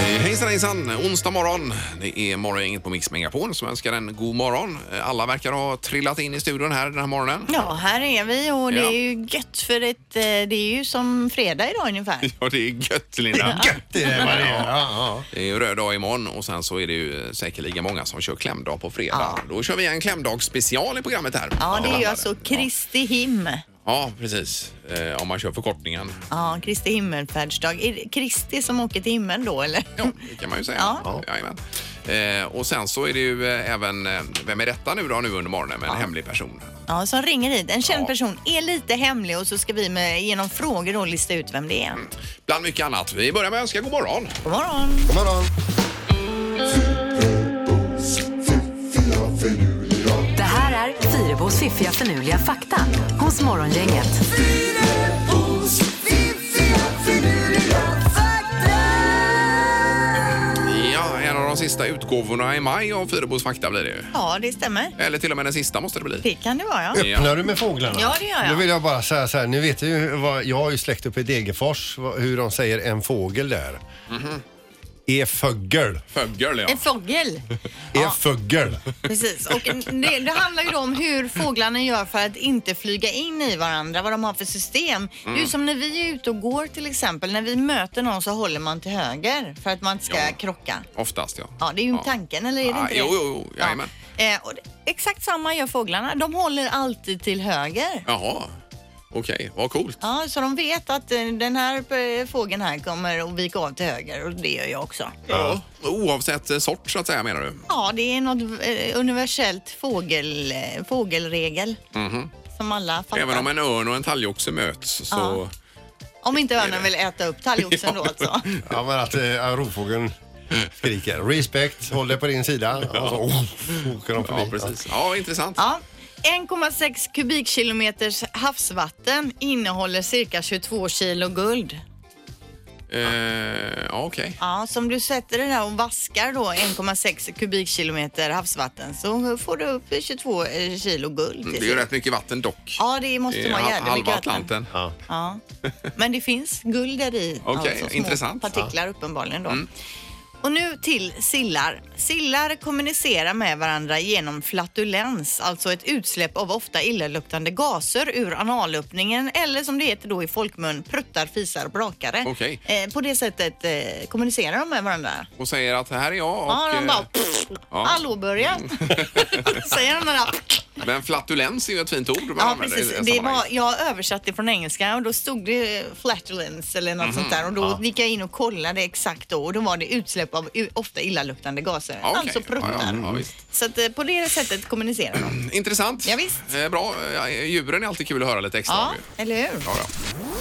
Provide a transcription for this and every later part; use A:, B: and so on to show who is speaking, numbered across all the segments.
A: Eh, Hejsan hejsan, onsdag morgon. Det är morgongänget på Mix Megapol som önskar en god morgon. Eh, Alla verkar ha trillat in i studion här den här morgonen.
B: Ja, här är vi och det
A: Ja.
B: är ju gött för ett, eh, det är ju som fredag idag ungefär.
A: Ja, det är gött Linda.
C: Det är vad det är. Ja,
A: Det är ju röd dag imorgon och sen så är det ju eh, säkerligen många som kör klämdag på fredag. Då kör vi en klämdagsspecial i programmet här.
B: Ja, det är ju
A: Ja.
B: alltså Kristi him.
A: Ja, precis. Eh, Om man kör förkortningen.
B: Ja, Kristi himmelfärdsdag. Är det Kristi som åker till himlen då eller?
A: Ja, det kan man ju säga.
B: Ja.
A: Ja. jajamän. Eh, och sen så är det ju eh, även, eh, vem är detta nu då nu under morgonen, en hemlig person?
B: Ja, som ringer hit. En känd
A: Ja.
B: person är lite hemlig och så ska vi med, genom frågor då lista ut vem det är.
A: Bland mycket annat. Vi börjar med att önska god morgon.
B: God morgon!
C: God morgon.
D: Det här är Fyrabos fiffiga förnuliga fakta hos Morgongänget.
A: Ja, en av de sista utgåvorna i maj av Fyrebos fakta blir det ju.
B: Ja, det stämmer.
A: Eller till och med den sista måste det bli.
B: Det kan det vara ja.
A: Ja.
C: Öppnar du med fåglarna?
B: Ja, det gör jag.
C: Nu vill jag bara säga så här, ni vet ju vad, jag har ju släkt uppe i Degerfors, vad- hur de säger en fågel där.
A: Mhm.
C: E föggel.
A: Föggel, ja.
B: En fågel.
C: E föggel.
B: Precis. Och det, det handlar ju då om hur fåglarna gör för att inte flyga in i varandra, vad de har för system. Det är
A: Mm.
B: ju som när vi är ute och går till exempel. När vi möter någon så håller man till höger för att man inte ska
A: Ja.
B: krocka.
A: Oftast, ja.
B: Ja, det är ju tanken, eller är det
A: Ja,
B: inte det?
A: jo, jo, jo. Jajamän.
B: Eh, och det, exakt samma gör fåglarna. De håller alltid till höger.
A: Jaha, okej. Vad coolt.
B: Ja, så de vet att eh, den här eh, fågeln här kommer att vika av till höger och det gör jag också.
A: Ja. Oavsett eh, sort, så att säga, menar du?
B: Ja, det är något eh, universellt fågel, eh, fågelregel som alla fattar.
A: Mhm. Även om en örn och en talgoxe möts så...
B: Ja. Om inte örnen vill äta upp talgoxen då alltså.
C: Ja, men att eh, rovfågeln skriker respekt, håll dig på din sida. Och så oh, åker de förbi.
A: Ja, precis. Ja, intressant.
B: Ja. 1,6 kubikkilometers havsvatten innehåller cirka 22 kilo guld.
A: Eh, ja, okej.
B: Ja, så om du sätter det där och vaskar då 1,6 kubikkilometer havsvatten så får du upp 22 eh, kilo guld.
A: Mm, Det är ju rätt mycket vatten dock.
B: Ja, det måste
A: Det är
B: vara
A: hal-
B: jävligt
A: halva
B: mycket vatten.
A: Atlanten.
C: Ja.
B: Ja. Men det finns guld där i. alltså,
A: Okej,
B: små
A: intressant. Mm.
B: Partiklar uppenbarligen då. Och nu till sillar. Sillar kommunicerar med varandra genom flatulens, alltså ett utsläpp av ofta illaluktande gaser ur analöppningen eller som det heter då i folkmun, pruttar, fisar, brakare.
A: Okej.
B: Eh, på det sättet eh, kommunicerar de med varandra.
A: Och säger att här är jag och...
B: Ja,
A: eh,
B: de
A: Mm.
B: bara... Pff, Hallå, börja! Säger de där... Pff.
A: Men flatulens är ju ett fint ord man
B: Ja,
A: använder i
B: precis.
A: det
B: Det var,
A: sammanhanget.
B: jag översatte från engelska och då stod det flatulence eller något sånt där och
A: Mhm.
B: då gick jag in och kollade exakt då och då var det utsläpp av u- ofta illaluktande gaser,
A: Ja, okej.
B: alltså pruttar.
A: Ja, ja, ja, visst. Mm,
B: Så att eh, på det sättet kommunicerar de.
A: Intressant.
B: Ja, visst.
A: Eh, bra. Ja, Djuren är alltid kul att höra lite extra
B: Ja,
A: om ju.
B: eller hur?
A: Ja,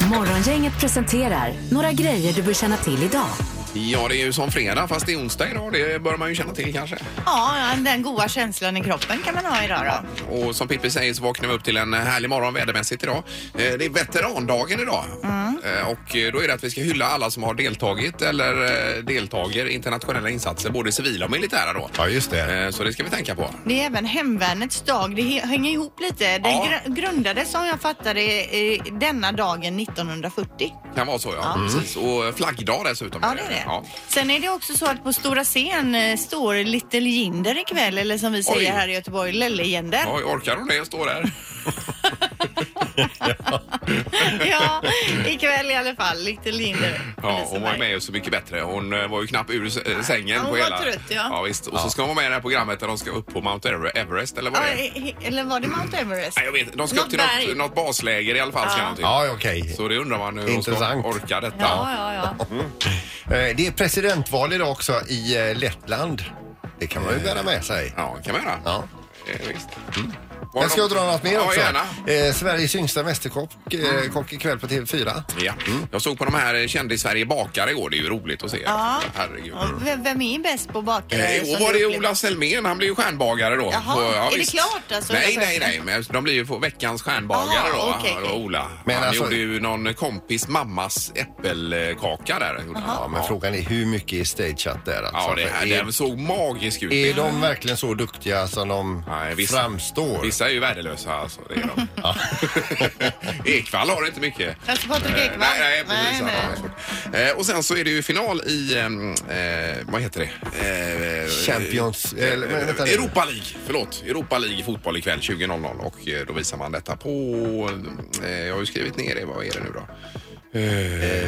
A: ja.
D: Morgongänget presenterar några grejer du bör känna till idag.
A: ja, det är ju som fredag fast det är onsdag idag. Det bör man ju känna till kanske.
B: Ja, den goda känslan i kroppen kan man ha idag då.
A: Och som Pippi säger så vaknar vi upp till en härlig morgon vädermässigt idag. Eh, Det är veterandagen idag.
B: Mm.
A: Eh, Och eh, då är det att vi ska hylla alla som har deltagit eller eh, deltager i internationella insatser, både civila och militära då.
C: Ja, just det.
A: Eh, Så det ska vi tänka på.
B: Det är även hemvärnets dag. Det he- hänger ihop lite. Den
A: Ja.
B: gr- grundades, som jag fattade, eh, denna dagen 1940.
A: Kan vara så ja. Precis. Och flaggdag dessutom.
B: Ja, det är det.
A: Ja.
B: Sen är det också så att på stora scen eh, står Little Jinder ikväll, eller som vi säger
A: Oj.
B: här i Göteborg, Lelle Jinder.
A: Ja, orkar hon det? Står där.
B: ja, ikväll i alla fall. Little Jinder.
A: Ja, hon var ju med Så mycket bättre. Hon eh, var ju knappt ur s- eh, sängen.
B: Ja, hon
A: på
B: var
A: hela...
B: trött, ja.
A: ja visst. Och så ska hon vara med i det här programmet där de ska upp på Mount Ever- Everest eller vad
B: Ja,
A: det är.
B: eh, Eller var det Mount Everest?
A: Nej, jag vet inte. De ska upp
B: Något
A: till
B: berg.
A: något, något basläger i alla fall. Ska de till.
C: Ja, okej.
A: Så det undrar man hur de
C: Intressant.
A: ska orka detta.
B: Ja, ja, ja.
C: Eh, Det är presidentval idag också i eh, Lettland. Det kan man ju bära med sig.
A: Ja, det kan man göra.
C: Ja.
A: Eh, visst. Var
C: Men
A: det
C: ska jag
A: någon-
C: dra något mer
A: Ja,
C: också?
A: gärna. Mm.
C: Eh, Sveriges yngsta mästerkock eh, kock ikväll på TV4.
A: Ja.
C: mm.
A: Jag såg på de här eh, Kändis-Sverige bakar igår. Det är ju roligt att se.
B: Ja.
A: Herregud.
B: Ja, vem- Vem är bäst på bakare?
A: Eh,
B: som
A: och var
B: du
A: det
B: upplever?
A: Ola Selmén? Han blir ju stjärnbagare då.
B: Jaha,
A: På-
B: är det klart alltså?
A: nej, nej, nej. Men de blir ju på veckans stjärnbagare
B: Aha,
A: då,
B: okej,
A: han-
B: okej.
A: och Ola.
C: Men
A: han
C: alltså-
A: gjorde ju någon kompis mammas äppelkaka där. Gjorde han.
C: Ja, men frågan är hur mycket är stageat där? Alltså,
A: Ja, det här,
C: är,
A: den såg magisk ut.
C: är de verkligen så duktiga som de
A: Nej, vissa-
C: framstår?
A: Vissa är ju värdelösa alltså. Det är de. Ekvall har inte mycket.
B: Alltså, Patrik
A: Eh,
B: Ekvall?
A: Nej, nej, precis.
B: Nej,
A: Han har svårt. Eh, och sen så är det ju final i, ehm, eh, vad heter det? Eh,
C: Champions... Eller, men, vänta nu.
A: Europa League, förlåt. Europa League fotboll ikväll 20.00 och eh, då visar man detta på... eh, Jag har ju skrivit ner det, vad är det nu då?
C: Eh,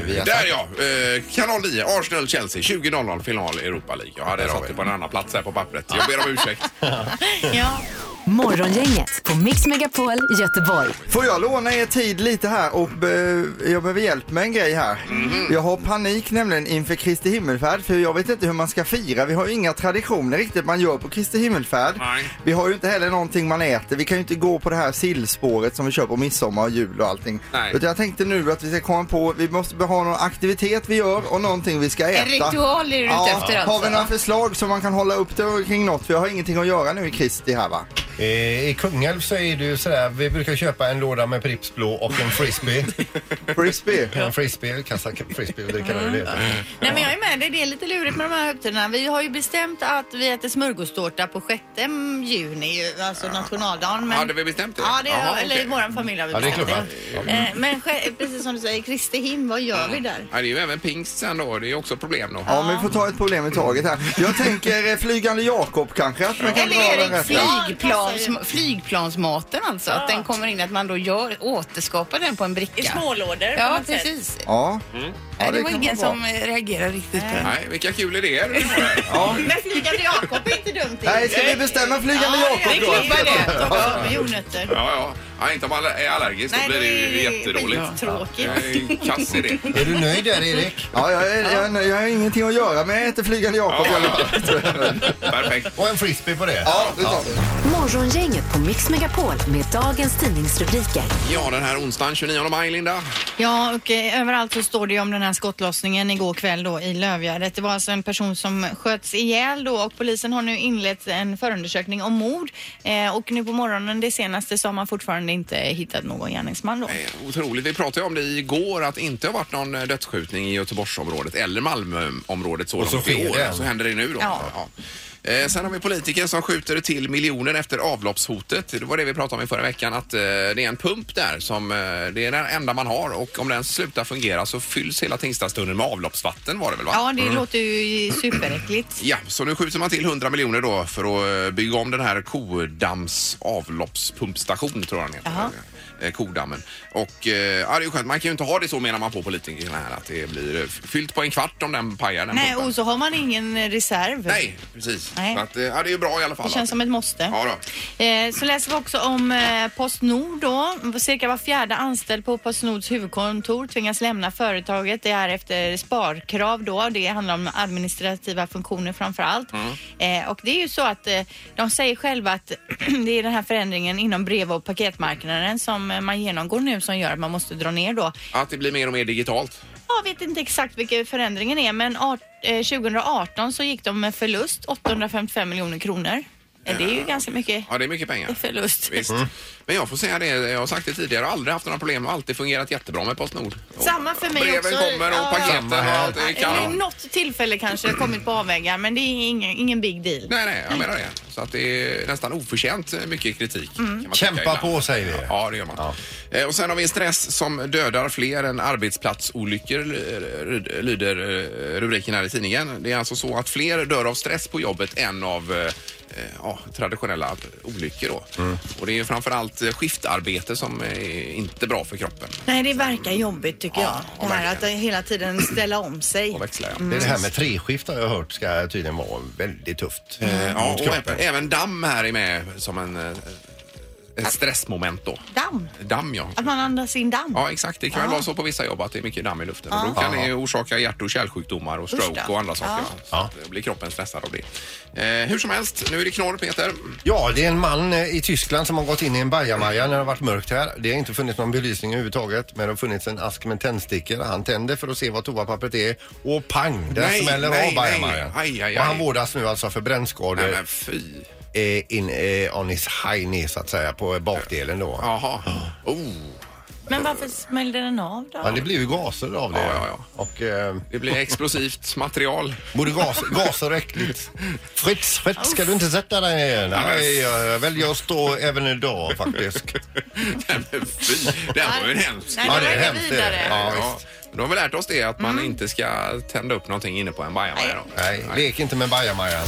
C: via-
A: Där ja! Eh, Kanal 9, Arsenal-Chelsea 20.00 final Europa League. Jag hade satt det på en annan plats här på pappret. Jag ber om ursäkt.
B: Ja.
D: Morgongänget på Mix Megapol Göteborg.
E: Får jag låna er tid lite här och be- jag behöver hjälp med en grej här.
A: Mhm.
E: Jag har panik nämligen inför Kristi himmelfärd för jag vet inte hur man ska fira. Vi har ju inga traditioner riktigt man gör på Kristi himmelfärd.
A: Nej.
E: Vi har ju inte heller någonting man äter. Vi kan ju inte gå på det här sillspåret som vi kör på midsommar och jul och allting.
A: Nej.
E: Utan jag tänkte nu att vi ska komma på, vi måste ha någon aktivitet vi gör och någonting vi ska äta.
B: En ritual är du ute efter
E: Har vi
B: alltså?
E: några förslag som man kan hålla upp det kring något? För jag har ingenting att göra nu i Kristi här va?
C: Eh, I Kungälv så är det ju sådär, vi brukar köpa en låda med Pripps blå och en frisbee.
E: Frisbee.
C: en frisbee, kasta frisbee och dricka öl. det.
A: Mm.
B: Nej men jag är med dig, det är lite lurigt med de här högtiderna. Vi har ju bestämt att vi äter smörgåstårta på 6 juni, alltså nationaldagen. Men...
A: Hade vi bestämt det?
B: Ja, det
A: Jaha,
B: eller
A: okej.
B: i vår familj har vi
C: Ja, det är
B: bestämt
C: klubbat.
B: Eh, Men sj- precis som du säger, Kristi him, vad gör vi där?
A: Ja, det är ju även pingst sen då. Det är ju också problem då.
E: Ja, men vi får ta ett problem i taget här. Jag tänker eh, flygande Jakob kanske. Att man kan
F: Eller
E: dra
F: är
E: den
F: det
E: rätt där.
F: flygplans, flygplansmaten alltså? Att den kommer in, att man då gör, återskapar den på en bricka? I smålådor Ja, precis.
E: Ja.
F: Nej, det,
E: det
F: var
E: kan
F: ingen
E: vara
F: som eh, reagerade riktigt på det.
A: Nej, vilka kul idéer
B: Men flygande Jakob är inte dumt.
E: Nej, ska vi bestämma flygande
B: Ja,
E: Jakob
B: vi
E: då?
B: klubbar det. Då har vi jordnötter.
A: Ja, ja. ja inte om man är allergisk, då blir det ju jättedåligt.
B: skittråkigt.
A: Ja. Kass idé.
C: Är du nöjd där Erik?
E: Ja, jag, är- jag, är- jag har ingenting att göra men jag äter flygande Jakob i alla fall.
A: Perfekt.
C: Och en frisbee på det.
E: Ja, det tar vi.
D: Eh, Morgongänget på Mix Megapol med dagens tidningsrubriker.
A: Ja, den här onsdagen 29 maj, Linda.
B: Ja, och eh, överallt så står det ju om den här skottlossningen igår kväll då i Lövgärdet. Det var alltså en person som sköts ihjäl då och polisen har nu inlett en förundersökning om mord. Eh, och nu på morgonen det senaste så har man fortfarande inte hittat någon gärningsman då.
A: Eh, Otroligt. Vi pratade ju om det igår att det inte har varit någon eh, dödsskjutning i Göteborgsområdet eller Malmöområdet så
C: Och så
A: långt i
C: sker
A: år.
C: det.
A: Så händer det nu då.
B: Ja.
A: Ja. Eh, Sen har vi politiker som skjuter till miljoner efter avloppshotet. Det var det vi pratade om i förra veckan att eh, det är en pump där som eh, det är den enda man har och om den slutar fungera så fylls hela Tingstadstunneln med avloppsvatten var det väl va?
B: Ja, det låter ju superäckligt.
A: Ja, så nu skjuter man till 100 miljoner då för att eh, bygga om den här Kodams avloppspumpstation tror jag den heter.
B: Jaha.
A: Eh, Kodammen. Och eh, ja, det är ju skönt, man kan ju inte ha det så menar man på politikerna här att det blir eh, fyllt på en kvart om den pajar den
B: Nej,
A: pumpen.
B: och så har man ingen reserv.
A: Nej, precis.
B: Nej.
A: Så att, eh, ja, det är ju bra i alla fall.
B: Det känns som ett måste.
A: Ja, då.
B: Eh, så läser vi också om eh, Postnord då. Cirka var fjärde anställd på Postnords huvudkontor tvingas lämna företaget. Det är efter sparkrav då. Det handlar om administrativa funktioner framför allt.
A: Mm.
B: Eh, och det är ju så att eh, de säger själva att det är den här förändringen inom brev och paketmarknaden som eh, man genomgår nu som gör att man måste dra ner då.
A: Att det blir mer och mer digitalt.
B: Jag vet inte exakt vilken förändringen är men art, eh, 2018 så gick de med förlust 855 miljoner kronor. Eh, Det är ju ganska mycket
A: Ja, det är mycket pengar.
B: förlust.
A: Visst. Men jag får säga det, jag har sagt det tidigare, jag har aldrig haft några problem och alltid fungerat jättebra med Postnord. Och
B: Samma för mig
A: Breven
B: också.
A: kommer och
B: Ja.
A: paketen och allt. Det är
B: Eller
A: kanon.
B: något tillfälle kanske jag har kommit på avvägar men det är ingen, ingen big deal.
A: Nej, nej, jag menar det. Så att det är nästan oförtjänt mycket kritik. Kan man
C: Mm. Kämpa
A: tycka ibland.
C: på, säger vi.
A: Ja, det gör man. Eh, Och sen har vi stress som dödar fler än arbetsplatsolyckor, l- r- lyder eh, rubriken här i tidningen. Det är alltså så att fler dör av stress på jobbet än av eh, eh, ja, traditionella olyckor. Då.
C: Mm.
A: Och det är ju framförallt eh, skiftarbete som är inte bra för kroppen.
B: Nej, det verkar jobbigt tycker
A: Ja,
B: jag. Det här att
A: verkligen.
B: hela tiden ställa om sig. Mm.
A: Och växlar, ja.
C: Det, är det här med treskift har jag hört ska tydligen vara väldigt tufft.
A: Eh, Ja,
C: mot
A: och
C: kroppen.
A: även, även damm här är med som en eh, Ett stressmoment då.
B: Damm.
A: Damm ja.
B: Att man andas in damm.
A: Ja exakt, det kan
B: Ah.
A: väl vara så på vissa jobb att det är mycket damm i luften. Och då kan det ju orsaka hjärt och kärlsjukdomar och stroke
B: Usch då.
A: och andra saker.
B: Ah.
A: Ja. Så
C: Ah.
A: att då blir kroppen stressad av det. Eh, hur som helst, nu är det knorr Peter.
C: Ja, det är en man eh, i Tyskland som har gått in i en bajamaja när det har varit mörkt här. Det har inte funnits någon belysning överhuvudtaget men det har funnits en ask med tändstickor. Han tänder för att se vad toapappret är och pang, där
A: Nej,
C: smäller
A: nej,
C: av bajamajan.
A: nej. Aj, aj,
C: Och
A: aj.
C: han vårdas nu alltså för brännskador
A: Nej men fy.
C: eh, in eh, on his high knee så att säga på eh, bakdelen då. Ja.
A: Jaha.
C: Ah.
A: Oh,
B: Men varför smällde den av då?
C: det blir ju gaser av det.
A: Ja, ja,
C: Och, eh,
A: det blir explosivt material.
C: Både gas, gaser och äckligt. Fritz, Fritz, ska du inte sätta dig ner? Nej, jag väljer att stå även idag faktiskt.
A: Nej men fy. Det här var ju en hemsk.
B: Nej, Mm.
C: Ja, det
B: det
C: är
B: var inga
C: hemskt, det är det.
B: vidare.
C: Ja, visst.
A: Ja, då har vi lärt oss det att man inte ska tända upp någonting inne på en bajamaja då.
C: Nej, lek inte med bajamajan.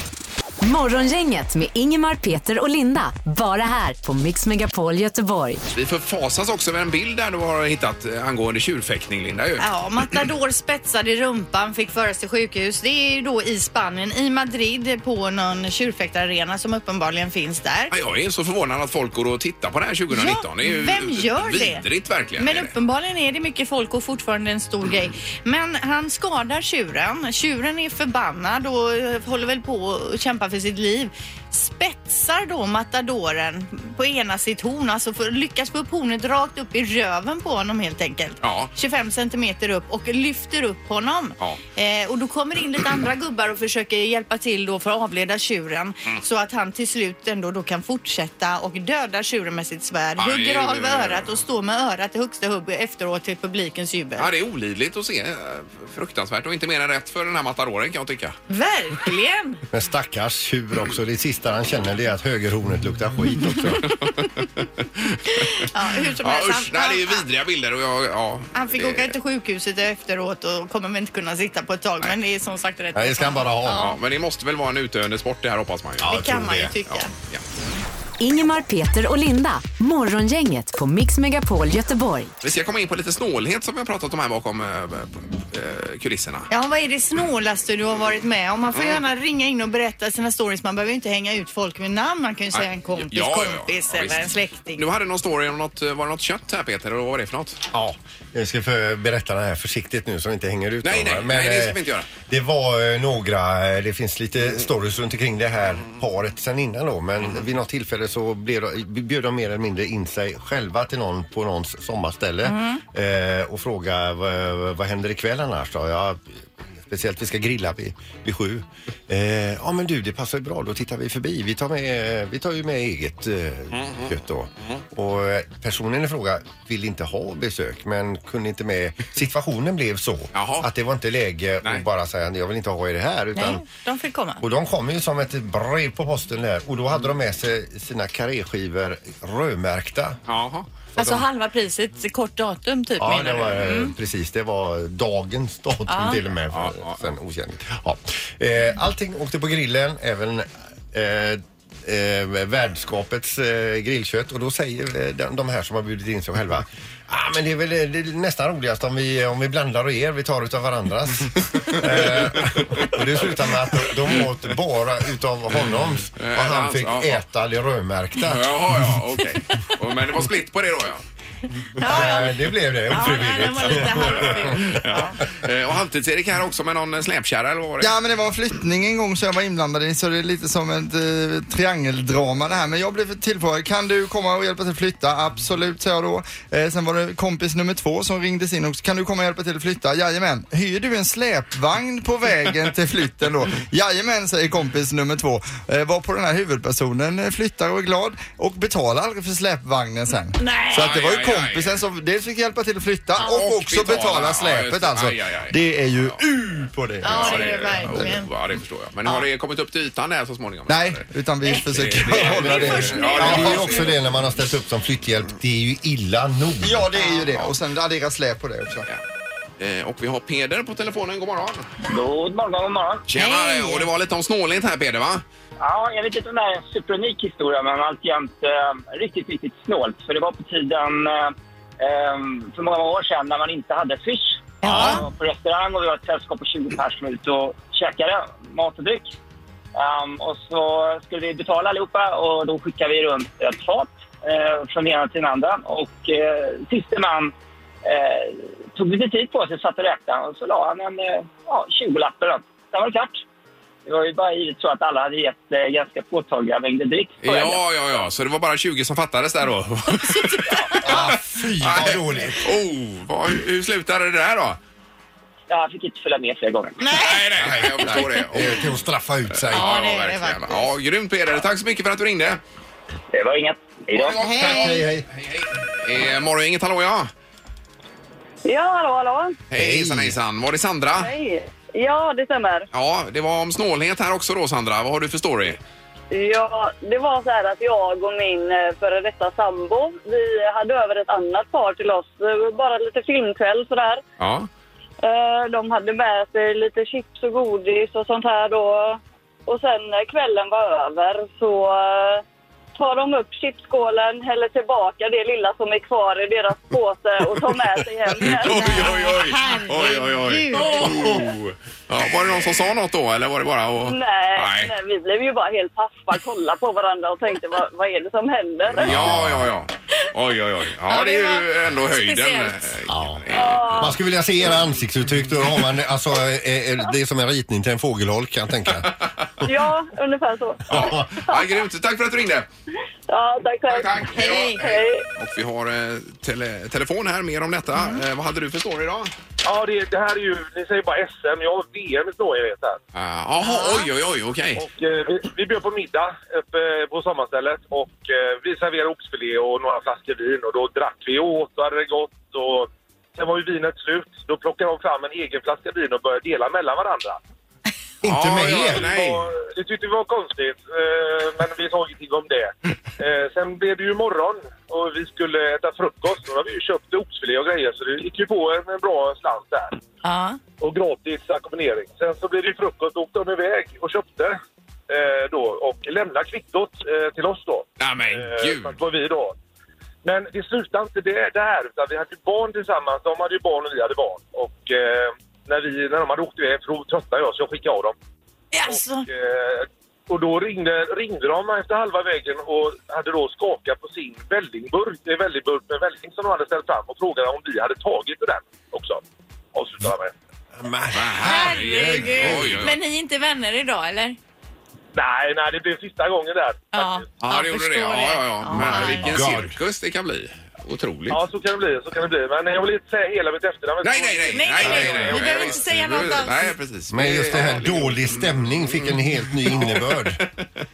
D: Morgongänget med Ingemar, Peter och Linda. Bara här på Mix Megapol Göteborg.
A: Vi förfasas också över en bild där du har hittat eh, angående tjurfäktning Linda ju.
B: Ja, Matador spetsad i rumpan fick föras till sjukhus. Det är ju då i Spanien, i Madrid, på någon tjurfäktararena som uppenbarligen finns där.
A: Ja, Jag är så förvånad att folk går och tittar på det här 2019. det är ju
B: vem gör det?
A: vidrigt verkligen.
B: Men
A: är det.
B: uppenbarligen är det mycket folk och fortfarande en stor grej. Men han skadar tjuren. Tjuren är förbannad och eh, håller väl på och kämpar för sitt liv. Spetsar då matadoren på ena sitt horn, alltså för, lyckas få upp hornet rakt upp i röven på honom helt enkelt.
A: Ja.
B: 25 centimeter upp och lyfter upp honom.
A: Ja.
B: Eh, och då kommer det in lite andra gubbar och försöker hjälpa till då för att avleda tjuren
A: Mm.
B: så att han till slut ändå då kan fortsätta och döda tjuren med sitt svärd.
A: Aj,
B: Hugger
A: aj,
B: av
A: aj, aj.
B: örat och står med örat i högsta hubb efteråt till publikens jubel.
A: Ja, det är olidligt att se. eh, Fruktansvärt och inte mer än rätt för den här matadoren kan jag tycka.
B: Verkligen!
C: Men stackars tjur också. Det sista han känner det är att högerhornet luktar skit också.
B: Ja, hur som
A: Ja,
B: helst.
A: usch, det här är ju vidriga bilder. Och jag, ja,
B: han fick
A: det-
B: åka till sjukhuset efteråt och kommer väl inte kunna sitta på ett tag. Men det är som sagt rätt.
C: Nej, det ska han bara ha.
A: Ja, men det måste väl vara en utdöende sport det här hoppas man ju.
C: Ja,
B: det
C: jag tror
B: kan man ju
C: det.
B: tycka.
A: Ja, ja.
D: Ingemar, Peter och Linda. Morgongänget på Mix Megapol Göteborg.
A: Vi ska komma in på lite snålhet som vi har pratat om här bakom eh, eh, kulisserna.
B: Ja, vad är det snålaste du har varit med om? Man
A: Mm.
B: får gärna ringa in och berätta sina stories. Man behöver ju inte hänga ut folk med namn. Man kan ju säga en kompis,
A: Ja, ja, ja.
B: kompis
A: Ja,
B: eller
A: visst.
B: en släkting.
A: Du hade någon story om något, eh, var det något kött här Peter? Eller vad var det för något?
C: Ja, jag ska för berätta det här försiktigt nu så vi inte hänger ut
A: Nej,
C: dem,
A: nej,
C: va?
A: nej, det ska
C: eh,
A: vi inte göra.
C: Det var eh, några, eh, det finns lite stories runt omkring det här paret sen innan då men vid något tillfälle så blev de, bjöd de mer eller mindre in sig själva till någon på någons sommarställe eh, och frågade vad, vad händer ikväll annars då? Ja, Speciellt vi ska grilla vid, vid sju. Eh, ja men du det passar ju bra, då tittar vi förbi. Vi tar, med, vi tar ju med eget eh, kött då. Och eh, personen i fråga ville inte ha besök men kunde inte med. Situationen blev så
A: Jaha.
C: att det var inte läge
A: Nej.
C: att bara säga jag vill inte ha er här utan
B: Nej, de fick komma.
C: och de kom ju som ett brev på posten där och då hade de med sig sina karéskivor rödmärkta.
A: Jaha.
B: Alltså halva priset, kort datum typ
C: Ja,
B: menar
C: det
B: du?
C: var, eh, precis. Det var dagens datum till och med. För,
A: Mm. Ja, ja,
C: sen okänt. Ja. Eh, allting åkte på grillen, även eh, eh, värdskapets eh, grillkött. Och då säger eh, de, de här som har bjudit in sig själva. Ah, men det är väl eh, det är nästan roligast om vi, om vi blandar och er, vi tar utav varandras. eh, och det slutade med att de åt bara utav honoms och
A: Eh,
C: han
A: alltså,
C: fick
A: ja, ja.
C: äta det rödmärkta.
A: Jaha, ja, okej. Och- Men det var split på det då ja.
C: Eh, det blev det,
B: Ja, nej, den
C: ofrivilligt.
B: var lite halvful. Ja.
A: Eh, Och halvtids-Erik här också med någon eh, släpkärra eller vad var det?
E: Ja men det var en flyttning en gång som jag var inblandad i så det är lite som ett eh, triangeldrama det här. Men jag blev tillfrågad, kan du komma och hjälpa till att flytta? Absolut, sa jag då. Eh, sen var det kompis nummer två som ringdes in också, kan du komma och hjälpa till att flytta? Jajamän. Hyr du en släpvagn på vägen till flytten då? Jajamän, säger kompis nummer två. Eh, var på den här huvudpersonen eh, flyttar och är glad och betalar aldrig för släpvagnen sen.
B: Nej.
E: Så att det var ju
A: Aj, aj, aj.
E: kompisen som dels fick hjälpa till att flytta
A: och
E: och också
A: betala. Ja,
E: betala
A: just
E: släpet
A: det.
E: alltså.
A: Aj, aj, aj.
E: Det är ju U på det.
B: Ja, det är det verkligen.
A: Ja, det förstår jag. Men har det kommit upp till ytan där så småningom?
E: Nej, utan vi försöker hålla
A: det är
E: det.
A: först nu.
C: Ja, det är ju också det när man har ställt upp som flytthjälp. Det är ju illa nog.
E: Ja, det är ju det. Och sen adderas släp på det också.
A: Ja. Eh, Och vi har Peder på telefonen. God morgon.
G: God morgon, god morgon.
A: Tjenare! Och det var lite om snålhet här Peder va?
G: Ja, jag vet inte om det här är en superunik historia, men alltjämt eh, riktigt, riktigt snålt. För det var på tiden eh, eh, för många år sedan när man inte hade Swish.
B: Ja.
G: Jag var på restaurang och vi var ett sällskap på 20 pers som var ute och käkade mat och dryck. Ehm, och så skulle vi betala allihopa och då skickade vi runt ett fat eh, från den ena till den andra. Och eh, siste man eh, tog lite tid på sig, satt och räknade och så la han en eh, ja, 20-lapp eller något. Sen var det klart. Det var ju bara givet så att alla hade gett eh, ganska påtagliga mängder dricks. på helgen.
A: Ja, ja, ja, så det var bara 20 som fattades där då.
C: Ah, Fy vad dåligt.
A: Oh, vad, hur hur slutade det där då?
G: Jag fick inte följa med fler gånger.
A: Nej, nej, nej jag förstår det.
C: Det är till att straffa ut sig.
A: Ja,
B: det är det
A: verkligen.
B: faktiskt.
A: Ja, grymt Peder. Tack så mycket för att du ringde.
G: Det var inget. Hej då.
C: Hej, hej.
A: Eh, morgon, inget hallå ja.
H: Ja, hallå, hallå.
A: Hej, hejsan, hejsan. Var det Sandra?
H: Hej. Ja, det stämmer.
A: Ja, det var om snålhet här också då Sandra. Vad har du för story?
H: Ja, det var så här att jag och min eh, före detta sambo, vi hade över ett annat par till oss. eh, Bara lite filmkväll sådär.
A: Ja.
H: Eh, De hade med sig lite chips och godis och sånt här då. Och sen när kvällen var över så eh, tar de upp chipskålen, häller tillbaka det lilla som är kvar i deras påse och tar med sig hem igen.
A: Oj, oj, oj. Oj, oj, oj. Oh. Ja, var det någon som sa något då eller var det bara att...
H: Nej, nej, vi blev ju bara helt paffa, kollade på varandra och tänkte vad, vad är det som händer?
A: Ja, ja, ja. Oj, oj, oj. Ja, det är ju ändå höjden. Eh,
F: speciellt.
A: Ja.
C: Man skulle vilja se era ansiktsuttryck. Då har man, alltså, eh, eh, det är som en ritning till en fågelholk kan jag tänka.
H: Ja, ungefär så.
A: Ja. Ja, grymt. Tack för att du ringde.
H: Ja, tack själv.
A: Tack, tack.
H: Hej.
A: Och vi har eh, tele telefon här, mer om detta. Eh, vad hade du för story idag?
G: Ja, det, här är ju... Ni säger bara SM. Jag har VM i snårighet här.
A: Ah, Jaha, oj, oj, oj, okej.
G: Och, eh, vi, vi bjöd på middag uppe eh, på sommarstället och eh, vi serverade oxfilé och några flaskor vin och då drack vi och åt och hade det gott och sen var ju vinet slut. Då plockade de fram en egen flaska vin och började dela mellan varandra.
A: Ja,
C: Inte med
A: ja,
C: er.
A: nej.
G: Och eh, det tyckte vi var konstigt, eh, men vi sa ingenting om det. Eh, sen blev det ju morgon och vi skulle äta frukost. Då hade vi ju köpt oxfilé och grejer så det gick ju på en, en bra slant där
B: Ja.
G: och gratis ackompanjering. Sen så blev det ju frukost och åkte de iväg och köpte eh, då och lämnade kvittot eh, till oss då. Eh,
A: Nej, men gud.
G: fast var vi då. Men det slutade inte det där utan vi hade ju barn tillsammans. De hade ju barn och vi hade barn. Och eh, när, vi, när de hade åkt iväg så tröttnade jag så jag skickade av dem.
B: Alltså,
G: Och, eh, och då ringde, ringde de efter halva vägen och hade då skakat på sin vällingburk, eh, vällingburk med välling som de hade ställt fram och frågade om vi hade tagit den också. Avslutade de med.
A: Men herregud. Oj, oj, oj.
F: Men ni är inte vänner idag eller?
G: Nej, nej, det blev sista gången där.
B: ja.
A: Ja, det gjorde det.
B: förstår
A: Ja, ja, ja. Men vilken
C: God.
A: cirkus det kan bli. Otroligt.
G: Ja, så kan det bli. Så kan det bli. Men jag vill inte säga hela mitt efternamn.
A: Nej, nej, nej.
B: Nej, nej, nej. Vi behöver
A: Ja,
B: inte
A: visst.
B: säga
A: Vi
B: något
A: behöver-
B: alls.
A: Nej, precis.
C: Men just det här
A: är-
C: dålig stämning fick en helt ny innebörd.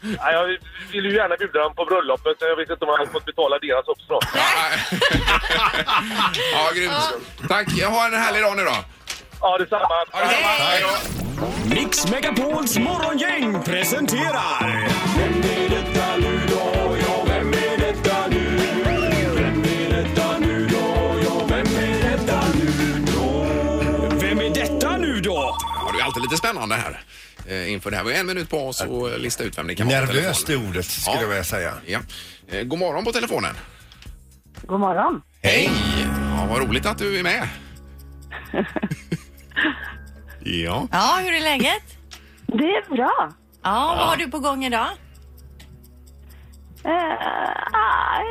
G: Nej, Jag vill ju gärna bjuda dem på bröllopet, men jag vet inte om jag hade fått betala deras också. Då.
A: Ja, grymt. Tack. Ha en härlig dag nu då.
G: Ja, detsamma.
A: Ha det bra. Hej då.
I: Mix Megapols morgongäng presenterar... Vem är detta nu då? Ja, vem är detta nu? Vem är detta nu då? Ja, vem är detta nu då? Vem är detta nu då?
A: Ja, det är alltid lite spännande här eh, inför det här. Vi har en minut på oss att lista ut vem det kan vara. på
C: Nervöst är
A: telefonen.
C: ordet skulle
A: Ja.
C: jag vilja säga.
A: Ja. Eh, God morgon på telefonen.
H: God morgon.
A: Hej! Ja, vad roligt att du är med. ja.
B: ja, hur är läget?
H: Det är bra.
B: Ja, vad har du på gång idag?
H: Eh,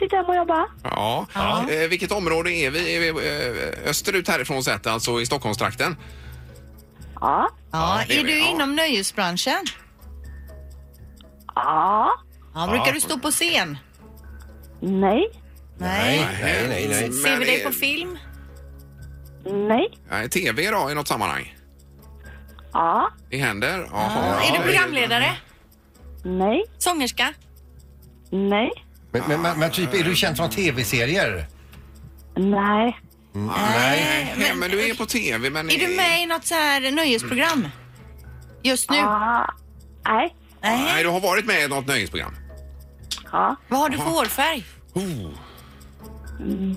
H: Sitter hemma och jobbar.
A: Ja. Eh, vilket område är vi? Är vi eh, österut härifrån sett, alltså i Stockholmstrakten?
H: Ja.
B: Ja,
A: det är
B: är
A: vi,
B: du
A: ja.
B: inom nöjesbranschen?
H: Ja.
B: Ja, brukar du stå på scen?
H: Nej.
B: Nej.
A: Nej, nej, nej.
B: Ser vi dig på film?
H: Nej.
A: Nej, TV då i något sammanhang?
H: Ja.
A: Det händer?
B: Ja.
A: Jaha.
B: Är du programledare?
H: Nej.
B: Sångerska?
H: Nej.
C: Men, men, men, men typ, är du känd från tv-serier?
H: Nej.
C: Nej.
A: Nej, men du är på TV, men...
B: Eh,
A: eh,
B: Är du med i något så här nöjesprogram? Just nu?
H: Ja. Ah. Nej.
B: Nej.
A: Nej, du har varit med i något nöjesprogram?
H: Ja.
B: Vad har du för hårfärg?
A: Oh.
H: Brun.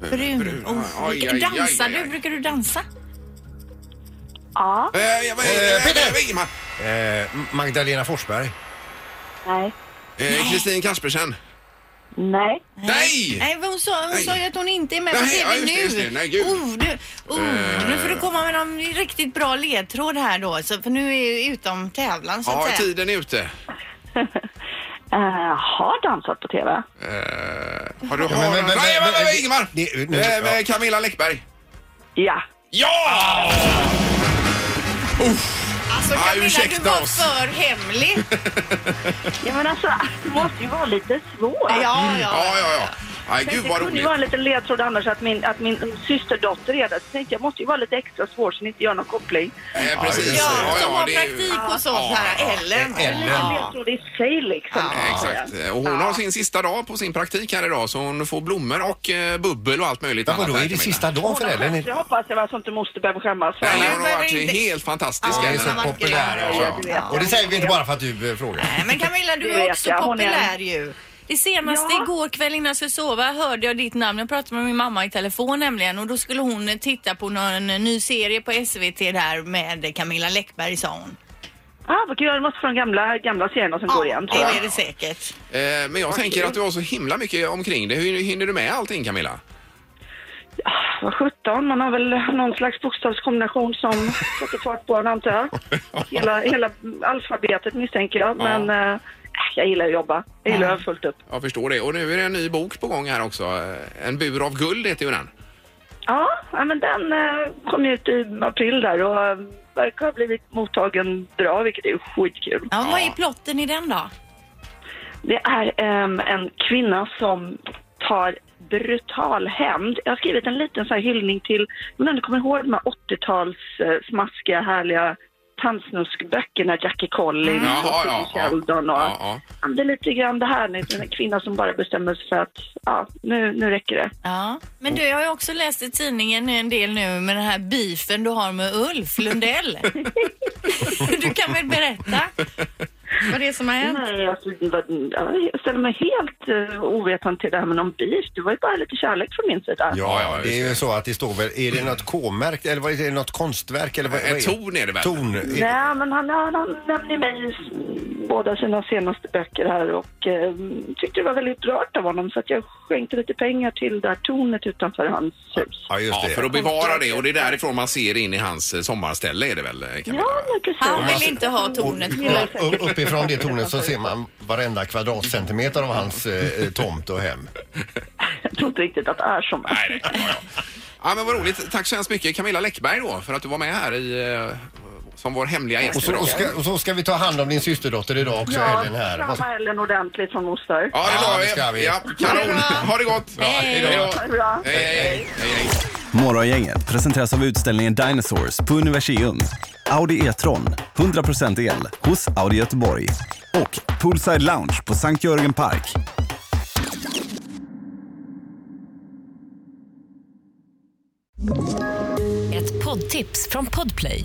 B: Brun.
A: Brun.
B: Oh.
A: Aj, aj,
B: Dansar
A: aj, aj.
B: du? Brukar du dansa?
H: Ja.
A: Eh, jag- eh,
C: Peter!
A: eh, Ingemar.
C: Eh, Magdalena Forsberg?
H: Nej.
A: Eh, Kristin Kaspersen.
H: Nej.
A: Nej!
B: Nej, hon sa, hon
A: Nej.
B: sa ju att hon inte är med på
A: Nej, ja,
B: TV
A: just det, just det.
B: nu.
A: Nej, gud.
B: Oh, du, oh,
A: Eh.
B: Nu får du komma med någon riktigt bra ledtråd här då. Så, för nu är ju utom tävlan så
A: Ja,
B: att säga.
A: tiden är ute.
H: Eh, har dansat på TV?
A: Eh, har du
C: men- men- men-
A: Nej, men, men, men, Ingemar!
C: Det- nu-
A: Eh, med
C: ja.
A: Camilla Läckberg.
H: Ja.
A: Ja! Uff.
F: Alltså
A: Ja,
F: Camilla,
A: ursäkta
F: du var
A: oss.
F: för hemlig.
H: Ja, men alltså, det måste ju vara lite svårt.
A: Mm. ja, ja, ja. Nej,
H: Men
A: gud
H: det
A: vad
H: kunde ju
A: roligt.
H: vara en liten ledtråd annars att min, att min systerdotter är där. Så tänkte jag måste ju vara lite extra svår så ni inte gör någon koppling.
A: Eh, precis.
F: Ja, som har
A: det är ju-
F: praktik hos oss här, Ellen.
A: Ellen.
F: Ja.
H: Ledtråd i sig liksom.
A: Eh, Exakt. Eh, Och hon har sin sista dag på sin praktik här idag så hon får blommor och eh, bubbel och allt möjligt annat.
C: vadå,
A: här,
C: är det
A: Camilla.
C: sista dagen för Ellen?
H: Jag hoppas det var sånt du måste behöva skämmas för.
A: Nej, hon har varit
F: inte-
A: helt fantastisk.
C: Det är
A: Ellen.
C: så populär.
A: Ja,
C: alltså. Och det säger vi inte bara för att du eh, frågar.
F: Nej, Men Camilla, du
H: Det
F: är
H: vet
F: också
H: jag, hon är-
F: populär ju.
J: Det senaste
H: Ja.
J: igår kväll innan jag skulle sova hörde jag ditt namn. Jag pratade med min mamma i telefon nämligen och då skulle hon eh, titta på någon eh, ny serie på SVT där med Camilla Läckberg sa hon.
H: Ah, vad kul, jag måste från gamla, gamla serierna som går igen. tror jag.
J: Det är det säkert.
A: Eh, Men jag tänker att du har så himla mycket omkring det. Hur hinner du med allting Camilla?
H: Vad sjutton, man har väl någon slags bokstavskombination som sätter fart på en antar jag. Hela, hela alfabetet misstänker jag, men eh, jag gillar att jobba. Jag gillar att ha fullt upp.
A: Jag förstår det. Och nu är det en ny bok på gång här också. Eh, En bur av guld heter ju den.
H: Ja, ja, men den eh, kom ut i april där och eh, verkar ha blivit mottagen bra, vilket är skitkul.
J: Ja, Vad är plotten i den då?
H: Det är ehm, en kvinna som tar brutal hämnd. Jag har skrivit en liten så här hyllning till, men du kommer ihåg de här 80-tals eh, smaskiga härliga tandsnuskböckerna, Jackie Collins
A: Mm.
H: och
A: Jaha, ja,
H: Sidney
A: ja.
H: Sheldon och...
A: Ja, ja.
H: Ja, men Det är lite grann det här nu, en kvinna som bara bestämmer sig för att ja, nu, nu räcker det.
J: Ja, men du, jag har ju också läst i tidningen en del nu med den här beefen du har med Ulf Lundell. du kan väl berätta vad det är som har hänt?
H: Nej, alltså, det var, ja, jag ställer mig helt uh, ovetande till det här med någon beef. Det var ju bara lite kärlek från min sida.
C: Ja, ja, det är ju så att det står väl, är det något K-märkt eller vad är det, något konstverk eller vad, vad är det?
A: Eh, Torn är det väl?
C: Torn. Är-
H: Nej, men han, han, han nämnde mig i s- båda sina senaste böcker här och eh, tyckte det var väldigt rört av honom så att jag skänkte lite pengar till det här tornet utanför hans hus.
C: Ja, just
A: Ja,
C: det.
A: för att bevara det och det är därifrån man ser in i hans eh, sommarställe är det väl? eh, Camilla?
H: Ja, men precis.
J: Han vill inte ha tornet kvar.
C: Och u- uppifrån det tornet så ser man varenda kvadratcentimeter av hans eh, tomt och hem.
H: Jag tror inte riktigt att det är som
A: Nej, nej. Ja, ja. ja, men vad roligt. Tack så hemskt mycket Camilla Läckberg då för att du var med här i, eh, som vår hemliga gäst
C: Och så,
A: idag.
C: och, ska, och så ska vi ta hand om din systerdotter idag också,
H: Ja,
C: Ellen här. Vad-
H: krama Ellen ordentligt från moster.
A: Ja, det
C: Ja,
A: la
C: det
A: vi.
C: ska vi.
A: Ja, kanon. Ha det gott. Ja, hej då.
H: Ha det bra.
A: Hej, hej, hej. hej, hej.
K: Morgongänget presenteras av utställningen Dinosaurs på Universium. Audi E-tron, 100% el, hos Audi Göteborg. Och Poolside Lounge på Sankt Jörgen Park.
L: Ett poddtips från Podplay.